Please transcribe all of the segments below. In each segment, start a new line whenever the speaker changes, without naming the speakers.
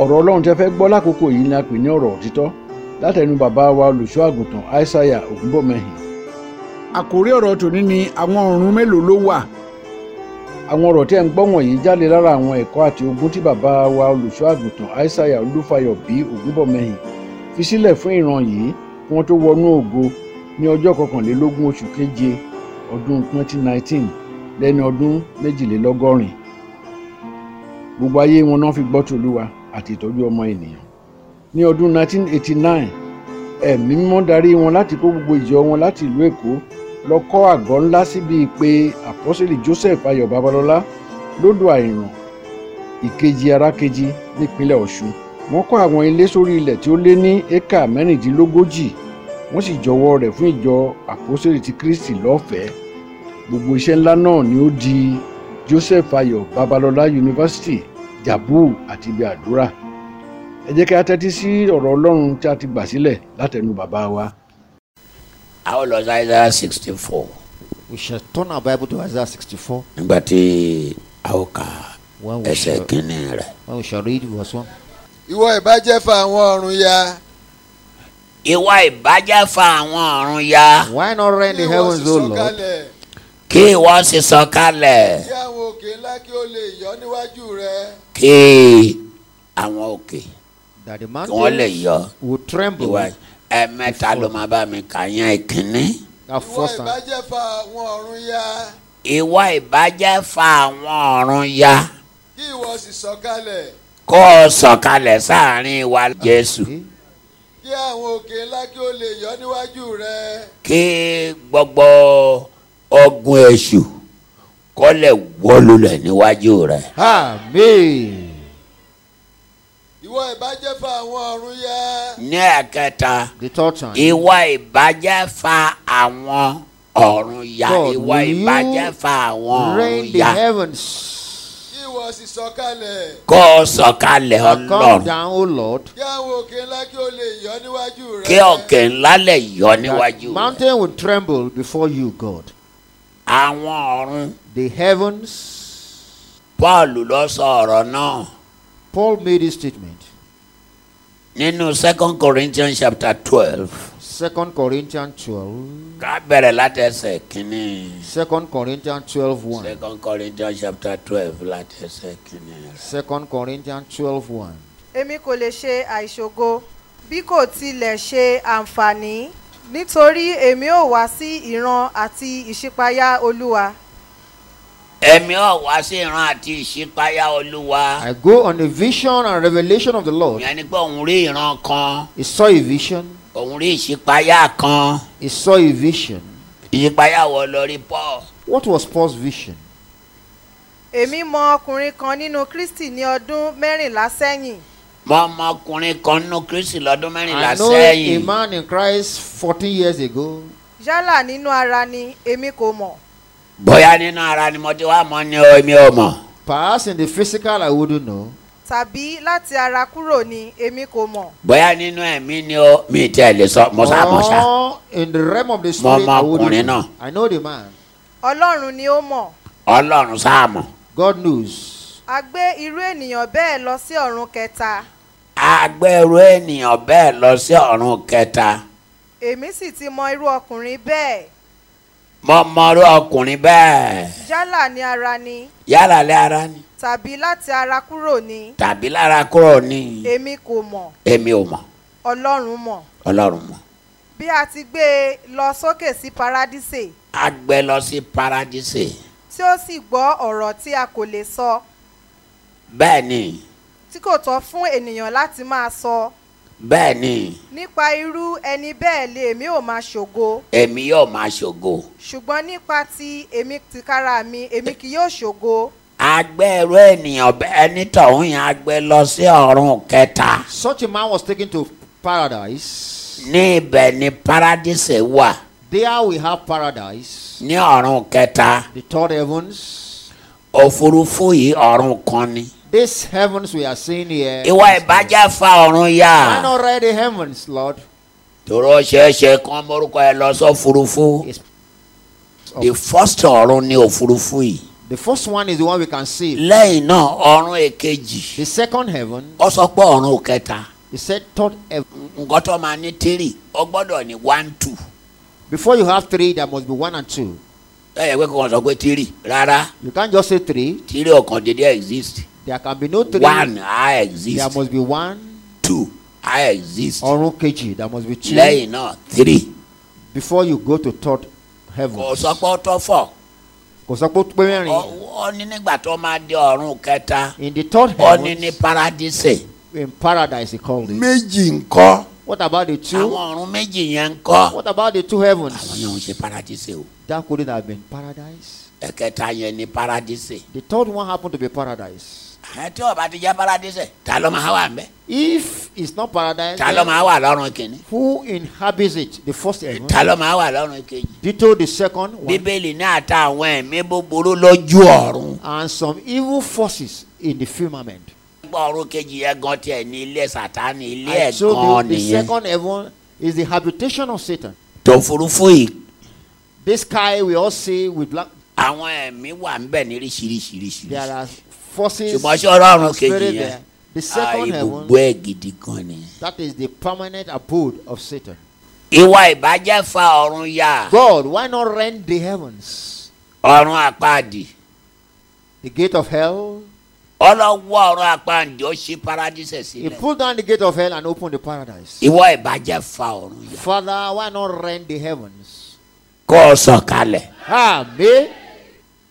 ọ̀rọ̀ ọlọ́run tẹ́ fẹ́ gbọ́ lákòókò yìí ni a pè ní ọ̀rọ̀ òtítọ́ látẹnu bàbá wa olùṣọ́ àgùntàn aishaiya ògúnbọ̀mẹ́hìn. àkórí ọ̀rọ̀ tòní ni àwọn ọ̀run mélòó ló wà. àwọn ọ̀rọ̀ tẹ́ ń gbọ́ wọ̀nyí jáde lára àwọn ẹ̀kọ́ àti ogun tí bàbá wa olùṣọ́ àgùntàn aishaiya olúfayọ bí ògúnbọ̀mẹ́hìn fi sílẹ̀ fún ìran yìí kí wọ́n tó wọnú ògo ní ọjọ́ kọkànlélógún oṣù keje ọdún 2019 lẹ́ni ọdún méjìlélọ́gọ́rin gbogbo ayé wọn náà fi gbọ́ tòlúwa àti ìtọ́jú ọmọ ènìyàn ní ọdún 1989 ẹ̀mí mímọ́ darí wọn láti kó gbogbo ìjọ wọn láti ìlú èkó lọ kọ́ àgọ́ ńlá síbi ìpè àpọ́sẹ̀lì joseph ayọ̀ babalọ́lá lódò àìràn ìkejì arákejì nípínlẹ̀ ọ̀ṣun wọ́n kọ́ àwọn ilé sórí ilẹ̀ tí ó lé ní éka mẹ́rìndínlógójì wọ́n sì jọwọ́ rẹ̀ fún ìjọ àpọ́sẹ̀lì ti kristi lọ́fẹ̀ẹ́ gbogbo iṣẹ́ ńlá náà ni ó di joseph ayọ̀ babalọ́lá university jabu àti ibi àdúrà ẹ jẹ́ kí a tẹ́tí sí ọ̀rọ̀ ọlọ́run tí a ti gbà sílẹ̀ látẹnu bàbá wa.
a ó lọ sí Isaiah sixty four
We shall turn our Bible to Isaiah 64
nígbà tí a ó ka
when we,
ẹsẹ̀
shall,
kínní rẹ̀.
when we shall read verse 1.
ìwọ ìbájẹ́fà àwọn ọ̀run ya
ìwà ìbàjẹ́ fa àwọn ọ̀run ya
Why not rend the
ìwọ sì
heavens, O Lord,
sọ̀kalẹ̀
kí ìwọ sì sọ̀kalẹ̀
kí àwọn òkè ńlá kí ó lè yọ níwájú rẹ
kí àwọn òkè
that the
kí wọ́n lè
mountains
yọ
will tremble
ìwà ẹ̀mẹ́ta ló máa bá mi kà yẹn ìkínní.
at
ìwọ
first hand.
ìbájẹ́fà àwọn ọ̀run ya
ìwà ìbàjẹ́ fa àwọn ọ̀run ya
kí ìwọ sì sọ̀kalẹ̀
kó o sọ̀kalẹ̀ sáàrin wa Jésù
kí àwọn òkè ńlá kí ó lè yọ níwájú rẹ
kí gbogbo ogun èṣù kó lè wó lulẹ̀ níwájú rẹ̀.
Amen.
ìwọ ìbájẹ́fà àwọn ọ̀run ya
ní ẹ̀kẹta
The third time.
ìwà ìbàjẹ́ fa àwọn ọ̀run ya
God,
ìwà
will you
ìbàjẹ́ fa àwọn ọ̀run
Rain the
ya
heavens.
kí ìwọ sì sọ̀kalẹ̀
kó o sọ̀kalẹ̀
And come
ọlọ́run
down, O Lord.
kí àwọn òkè ńlá kí ó lè yọ níwájú rẹ
kí òkè ńlá lè yọ
That
níwájú rẹ̀.
mountain will tremble before you, God.
àwọn ọ̀run
The heavens.
paul ló sọ ọ̀rọ̀ náà
Paul made his statement.
nínú second corinthians chapter twelve
2 Corinthians 12.
ká bẹ̀rẹ̀ láti ẹsẹ̀ kínní
2 Corinthians 12 1.
second corinthians chapter twelve láti ẹsẹ̀ kínní rẹ̀.
2 Corinthians 12 1.
èmi kò lè ṣe àìṣògo bí kò tilẹ̀ ṣe àǹfààní nítorí èmi ò wá sí ìran àti ìṣípayá olúwa
ẹ̀mí ọ̀wá sí ìran àti ìṣípayá olúwa
I go on a vision and revelation of the Lord.
ìyẹn ni pé òun rí ìran kan
He saw a vision.
òun rí ìṣípayá kan
He saw a vision.
ìṣípayá wo lórí paul
What was Paul's vision?
èmi mọ ọkùnrin kan nínú kristi ní ọdún mẹ́rìnlá sẹ́yìn
mọ ọmọkùnrin kan nínú kristi lọ́dún mẹ́rìnlá
I know a
sẹ́yìn
man in Christ 14 years ago.
yálà nínú ara ni èmi kò mọ̀
bóyá nínú ara ni mo ti wá mọ̀ ni o èmi ò mọ̀
Perhaps in the physical, I wouldn't know.
tàbí láti ara kúrò ni èmi kò mọ̀
bóyá nínú ẹ̀mí ni o mi tẹ̀ lè sọ mọ̀sámọ̀sá
Or in the realm of the spirit, I wouldn't know. I know the man.
ọlọ́run ni ó mọ̀
ọlọ́run sáàmù
God knows.
a gbé irú ènìyàn bẹ́ẹ̀ lọ sí ọ̀run kẹta
agbẹ́rú ènìyàn bẹ́ẹ̀ lọ sí ọ̀run kẹta
èmi sì ti mọ irú ọkùnrin bẹ́ẹ̀
mo mọrú ọkùnrin bẹ́ẹ̀
yálà ní ara ni
yálà lé ara ni
tàbí láti ara kúrò ni
tàbí lára kúrò ní
èmi kò mọ̀
èmi ò mọ̀
ọlọ́run mọ̀
ọlọ́run mọ̀
bí a ti gbé e lọ sókè sí paradísè
agbẹ́ lọ sí paradísè
tí ó sì gbọ́ ọ̀rọ̀ tí a kò lè sọ
bẹ́ẹ̀ ni
tí kò tọ́ fún ènìyàn láti máa sọ
bẹ́ẹ̀ ni
nípa irú ẹni bẹ́ẹ̀ lé èmi ò máa ṣògo
èmi yóò máa ṣògo
ṣùgbọ́n nípa ti èmi tìkára mi èmi kì yóò ṣògo
agbẹ́rú ènìyàn bẹ́ẹ̀ nítọ̀hún yẹn agbẹ́ lọ sí ọ̀run kẹta
Such a man was taken to paradise.
ní ibẹ̀ ni paradísè wà
There we have paradise,
ní ọ̀run kẹta
the third heavens.
òfurufú yìí ọ̀run kan ni.
These heavens we are seeing here.
ìwà ìbàjẹ́ fa ọ̀run yá
Why not read the heavens, Lord?
tòró ṣeéṣe kan morúkọ ẹ lọ sọ òfurufú
It's
the first ọ̀run ni òfurufú yìí
The first one is the one we can see.
lẹ́yìn náà ọ̀run èkejì
The second heaven,
ó sọ pé ọ̀run kẹta
he said third heaven.
nǹkan tó máa ní tírì ó gbọ́dọ̀ ní one two
Before you have three, there must be one and two.
lẹ́yìn pé kò wọ́n sọ pé tírì rárá
You can't just say three.
tírì ọ̀kan dédé exist
There can be no three.
one i
There
exist
must be one.
two i exist
Ọ̀run kejì, there must be two.
lẹ́yìn náà tírì
Before you go to third heaven.
kò sọ pé ó tọ́ fọ̀
Kò sọ pé ó pé mẹ́rin.
Ọ- ó ní nígbà tó máa dé ọ̀run kẹta
In the third
ó ní ní
heaven,
paradise
in paradise, he called it.
méjì ńkọ́
What about the two?
àwọn ọ̀run méjì yẹn ńkọ́
What about the two
àwọn
heavens?
yẹn ń ṣe paradise o
That couldn't have been paradise.
ẹ̀kẹta yẹn ní paradise
The third one happened to be paradise.
àwọn tí ó bá ti jẹ́ paradise ta ló máa wà ńbẹ̀
If it's not paradise,
ta ló máa wà lọ́run kìíní
who inhabits it? The first heaven.
ta ló máa wà lọ́run kejì
Ditto the second one.
bíbélì ní àtàwọn ẹ̀mí búburú lójú ọ̀run
And some evil forces in the firmament.
gbọ́ ọ̀run kejì yẹn gan tiẹ̀ ní ilé sàtánì ilé
And so
ẹ̀gàn
the, the
nìyẹn
second heaven is the habitation of Satan.
tó furufú yìí
This sky we all see with black.
àwọn ẹ̀mí wà ńbẹ̀ ní ríṣiríṣiríṣi
There are forces.
ṣùgbọ́n ṣé ọlọ́run kejì
spirit
yẹn
there. The
Ah,
second
ibùgbé
heaven.
ẹ̀ gidi gan ni.
That is the permanent abode of Satan.
ìwà ìbàjẹ́ fa ọ̀run ya
God, why not rent the heavens?
ọ̀run àpáàdì
The gate of hell.
ọlọ́wọ́ ọ̀run àpáàdì ó ṣí paradíṣẹ̀
He
sílẹ̀
pulled down the gate of hell and opened the paradise.
ìwà ìbàjẹ́ fa ọ̀run ya
Father, why not rent the heavens?
kó o sọ kalẹ̀.
Amen.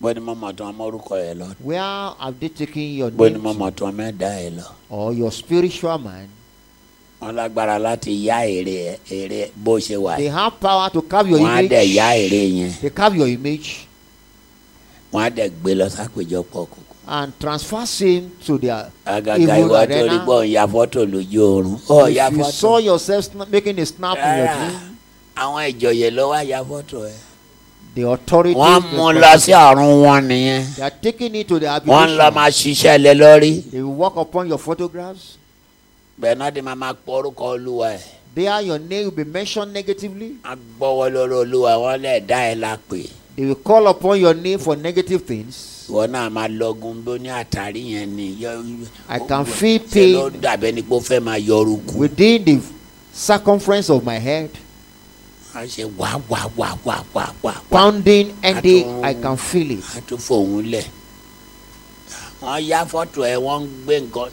bó ni mo mọ̀ tán ọmọ orúkọ yẹn lọ
Where have they taken your
bó ni
name
mo
to?
mọ̀ tán ọmọ ẹ̀dá yẹn lọ.
or your spiritual man?
wọn lágbára láti yá èrè ẹ- èrè bó ṣe wà
They
yìí.
have power to carve your
wọn á dẹ̀ yá
image.
èrè yẹn
They carve your image
wọn á dẹ̀ gbé lọ sápèjọpọ̀ kòkó.
and transfer same to their
àgàgà
evil
ìwà tó rí
arena.
gbọ́ ń ya fọ́tò lójú oorun ó ya
If you
fọ́tò.
saw yourself sna- making a snap in your
Rárá,
dream,
àwọn ìjòyè ló wá ya fọ́tò ẹ.
the authority.
wọ́n mú un lọ sí ọ̀run wọn nìyẹn
They are taking it to the
wọ́n ń lọ máa
habitation.
ṣiṣẹ́ lé lórí
They will walk upon your photographs.
bẹ́ẹ̀ náà ni màá máa pọ orúkọ olúwa ẹ̀
There, your name will be mentioned negatively.
á gbọ́wọ́ lórí olúwa wọn lè dá ẹ la pè
They will call upon your name for negative things.
ìwọ náà máa lọgun bó ní àtàrí yẹn ni yọ-
I can feel
ṣe ló
pain
dàbẹ́ ni pé ó fẹ́ máa yọrù kù
within the circumference of my head,
á ṣe wá wá wá wá wá wá wá
pounding headache. I can feel it.
á tún fòun lẹ̀ wọ́n yá fọ́tò ẹ̀ wọ́n ń gbé nǹkan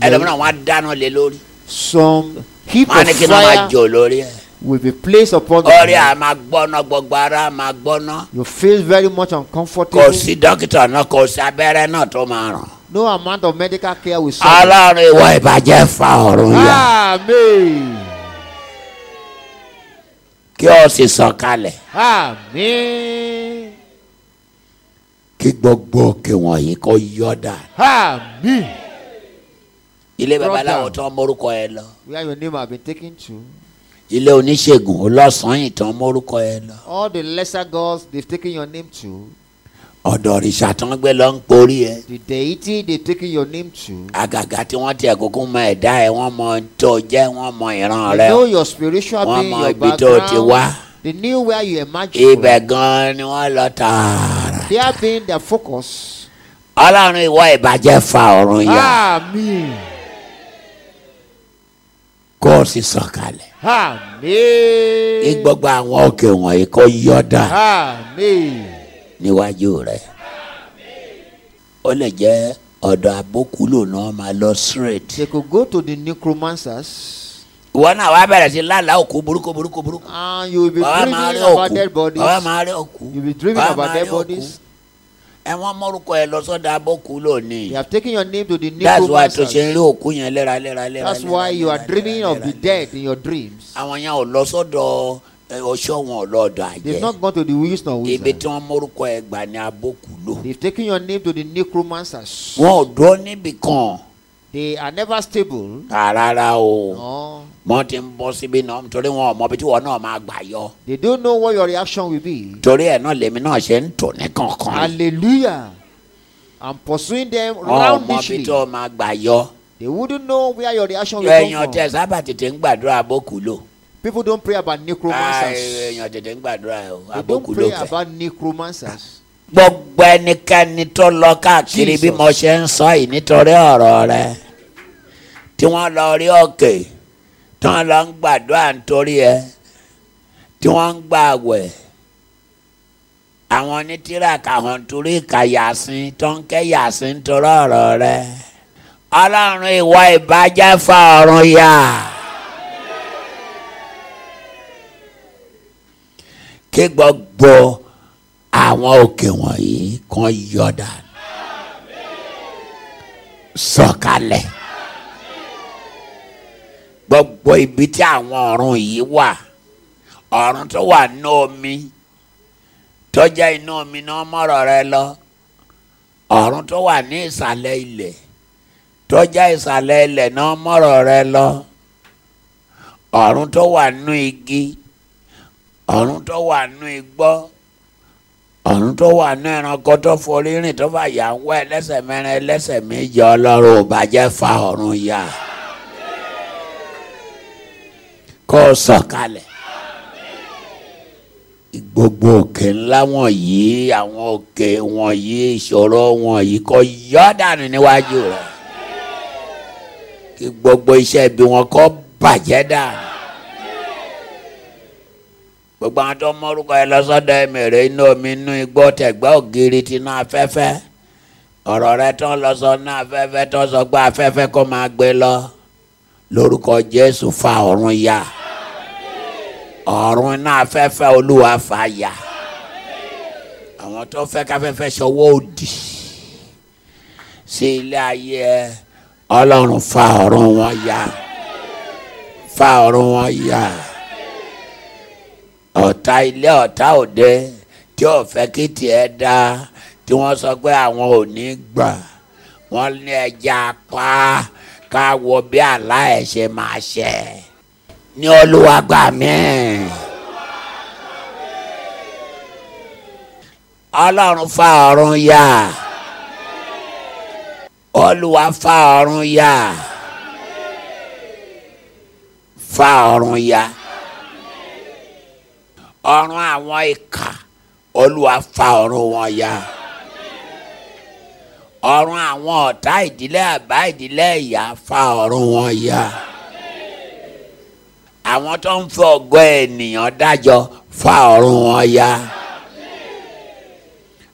ẹlòmíràn wọ́n á dáná lé lórí
Some heap
wọ́n á
of
ní kí wọ́n máa
fire
jò lórí ẹ̀
will be placed upon the
ọrẹ
head.
a máa gbọ́ná gbogbo ara máa gbọ́ná
You feel very much
kò
uncomfortable.
sí dókítà náà kò sí abẹ́rẹ́ náà tó máa ràn.
No amount of medical care will solve. it.
ọlọ́run ìwọ ìbàjẹ́ fa ọ̀run yá
Ah. Amen.
kí o sì sọ̀kalẹ̀
Amen.
kí gbogbo òkè wọ̀nyí kó yọ̀dà.
Amen.
ilé
Drop
babaláwo tó
down.
ń morúkọ ẹ lọ
Where your name have been taken to,
ilé oníṣègùn ọlọ́sàn-án yìí tó ń morúkọ ẹ lọ
all the lesser gods they've taken your name to,
ọ̀dọ̀ òrìṣà tó ń gbé lọ ń porí ẹ
the deity they've taken your name to.
àgàgà tí wọ́n tiẹ̀ kúkú mọ ẹ̀dá ẹ wọ́n mọ ohun tó jẹ́ wọ́n mọ ìran
They
rẹ
know your spiritual
Wọ́n
being,
mọ
your
ibi tó ti wá.
background. They knew where you emerged from.
ibẹ̀ gan-an ni wọ́n lọ tààrà.
They have been their focus.
ọlọ́run ìwọ ìbàjẹ́ fa ọ̀run yá.
Ah! Amen.
kó o sì sọ̀kalẹ̀. kí
Amen.
gbogbo àwọn òkè wọ̀nyí kó yọ̀dà
Ah! Amen.
níwájú rẹ̀. ó lè jẹ́ ọ̀dọ̀ abókúlò náà máa lọ straight.
They could go to the necromancers
ìwọ náà wàá bẹ̀rẹ̀ sí lálàá òkú burúkú burúkú burúkú.
and you will be
wàá
dreaming
máa rí
about
òkú
dead bodies.
wàá máa rí òkú.
You will be dreaming
wàá
about
máa rí
dead
òkú.
bodies.
ẹ wọ́n mọ́rúkọ ẹ lọ sọ́dọ̀ abókúlò ni.
They have taken your name to the
that's why tó ṣe ń rí
necromancers.
òkú yẹn léraléra léra.
That's
léra,
why you are
léra,
dreaming
léra,
of the
léra.
dead in your dreams.
àwọn yẹn ò lọ sọ́dọ̀ ẹ, ọ̀ṣọ́ wọn ò lọ́dọ̀ àjẹ́.
They've not gone to the Wilson
ibi
wizard.
tí wọ́n mọ́rúkọ ẹ gbà ní abókúlò.
They've taken your name to the necromancers.
wọn ò dúró níbì kan
They are never stable.
rárá o
No.
wọn ti ń bọ síbi náà nítorí wọn ò mọ ibi tí wọn náà máa gbà yọ
They don't know what your reaction will be.
torí ẹ náà lèmi náà ṣe ń tò ní kankan
Hallelujah. I'm pursuing them
wọn ò mọ ibi
roundishly.
tí wọn máa gbà yọ
They wouldn't know where your reaction will
èèyàn
come
tẹ
from.
sábà tètè ń gbàdúrà abókúlò
People don't pray about
Ah,
necromancers.
èèyàn tètè ń gbàdúrà o
They don't
abókúlò
pray
kẹ
about necromancers.
gbogbo ẹnikẹ́ni tó lọ káàkiri bí mo ṣe ń sọ yìí nítorí ọ̀rọ̀ rẹ tí wọ́n lọ rí òkè tí wọ́n lọ ń gbàdúrà nítorí ẹ tí wọ́n ń gbààwẹ̀ àwọn onítìràkà hàn torí ìka yàsín tó ń kẹ́ yàsín nítorí ọ̀rọ̀ rẹ ọlọ́run ìwọ ìbàjẹ́ fa ọ̀run yá. kí gbogbo àwọn òkè wọ̀nyí kan yọ̀dà sọ̀kalẹ̀ gbogbo ibi tí àwọn ọ̀run yìí wà ọ̀run tó wà ní omi tó jẹ́ inú omi náà mọ̀rọ̀ rẹ lọ ọ̀run tó wà ní ìsàlẹ̀ ilẹ̀ tó jẹ́ ìsàlẹ̀ ilẹ̀ náà mọ̀rọ̀ rẹ lọ ọ̀run tó wà nú igi ọ̀run tó wà nú igbó ọ̀run tó wà ní ẹranko tó forí rìn tó bá yà ń wá ẹlẹ́sẹ̀ mẹ́rin ẹlẹ́sẹ̀ méje ọlọ́run ò bàjẹ́ fa ọ̀run yá kó o sọ̀kalẹ̀ gbogbo òkè ńlá wọ̀nyí àwọn òkè wọ̀nyí ìṣòro wọ̀nyí kó yọ́ dànù níwájú rẹ̀ kí gbogbo iṣẹ́ ibi wọn kó bàjẹ́ dànù gbogbo àwọn tó mọ́rúkọ ẹ lọ́sọ́dọ̀ ẹ̀mẹ̀rẹ̀ inú omi inú igbó tẹ̀gbẹ́ ògiri tinú afẹ́fẹ́ ọ̀rọ̀ rẹ tó ń lọ sọ ní afẹ́fẹ́ tó sọ pé afẹ́fẹ́ kó máa gbé lọ lórúkọ jésù fa ọ̀run ya ọ̀run iná afẹ́fẹ́ olúwa fa ya àwọn tó fẹ́ káfẹ́fẹ́ ṣọwọ́ òdì sí ilé ayé ẹ ọlọ́run fa ọ̀run wọn ya fa ọ̀run wọn ya ọ̀tá ilé ọ̀tá òde tí ò fẹ́ kí tiẹ̀ da tí wọ́n sọ pé àwọn ò ní gbà wọ́n ní ẹja pa ká wo bí àlá ẹ̀ ṣe máa ṣẹ ní olúwa gbà mí. ọlọ́run fa ọ̀run yá olúwa fa ọ̀run yá fa ọ̀run yá ọrùn àwọn ìkà olúwa fa ọrùn wọn ya ọrùn àwọn ọ̀tá ìdílé àbá ìdílé ìyá fa ọrùn wọn ya àwọn tó ń fi ọgọ́ ènìyàn dájọ́ fa ọrùn wọn ya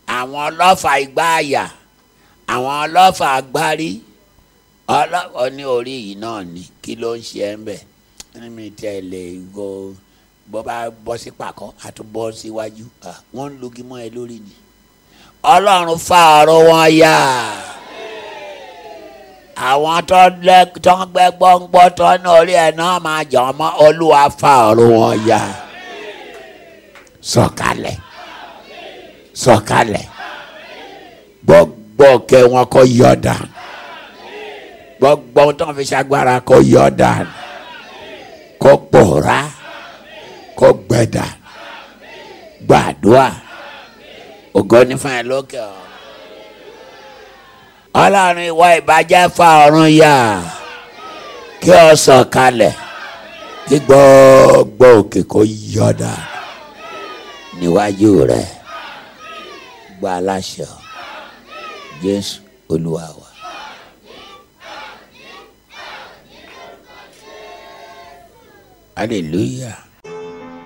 àwọn ọlọ́fà igbá àyà àwọn ọlọ́fà agbárí ọlọ́fà ní orí yìí náà ni kí ló ń ṣe ẹ́ ń bẹ̀ ẹni mi tẹ̀lé igbó bọ́ bá bọ́ sí pàkọ́ àti bọ́ síwájú wọ́n ń lugi mọ́ ẹ lórí ni ọlọ́run fa ọ̀rọ̀ wọn yá àwọn tó ń gbẹ́ gbọ́ngbọ́ tó ní orí ẹ̀ náà máa jọ mọ́ olúwa fa ọ̀rọ̀ wọn yá sọ̀kalẹ̀ sọ̀kalẹ̀ gbogbo kẹ wọn kọ yọ dànù gbogbo tó ń fi ṣàgbára kọ yọ dànù kọ pòórá kọ gbẹdà gbàdúà ògo ní fún ẹ lókè ọ ọlọrun ìwà ìbàjẹ́ fa ọ̀run yá kí ọ sọ kalẹ̀ kí gbogbo òkè kó yọ̀dà níwájú rẹ gba aláṣọ jésù olúwa wa. hallelujah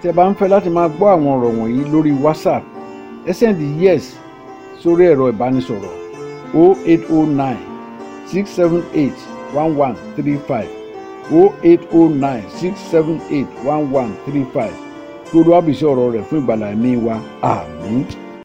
tí ẹ bá ń fẹ́ láti máa gbọ́ àwọn ọ̀rọ̀ wọ̀nyí lórí whatsapp ẹ sẹ́ndì yes sórí ẹ̀rọ ìbánisọ̀rọ̀ 0809 678 1135 0809 678 1135 tó lọ́wọ́ àbísí ọ̀rọ̀ rẹ̀ fún ìgbàlá ẹ̀mí wa àmín. Ah,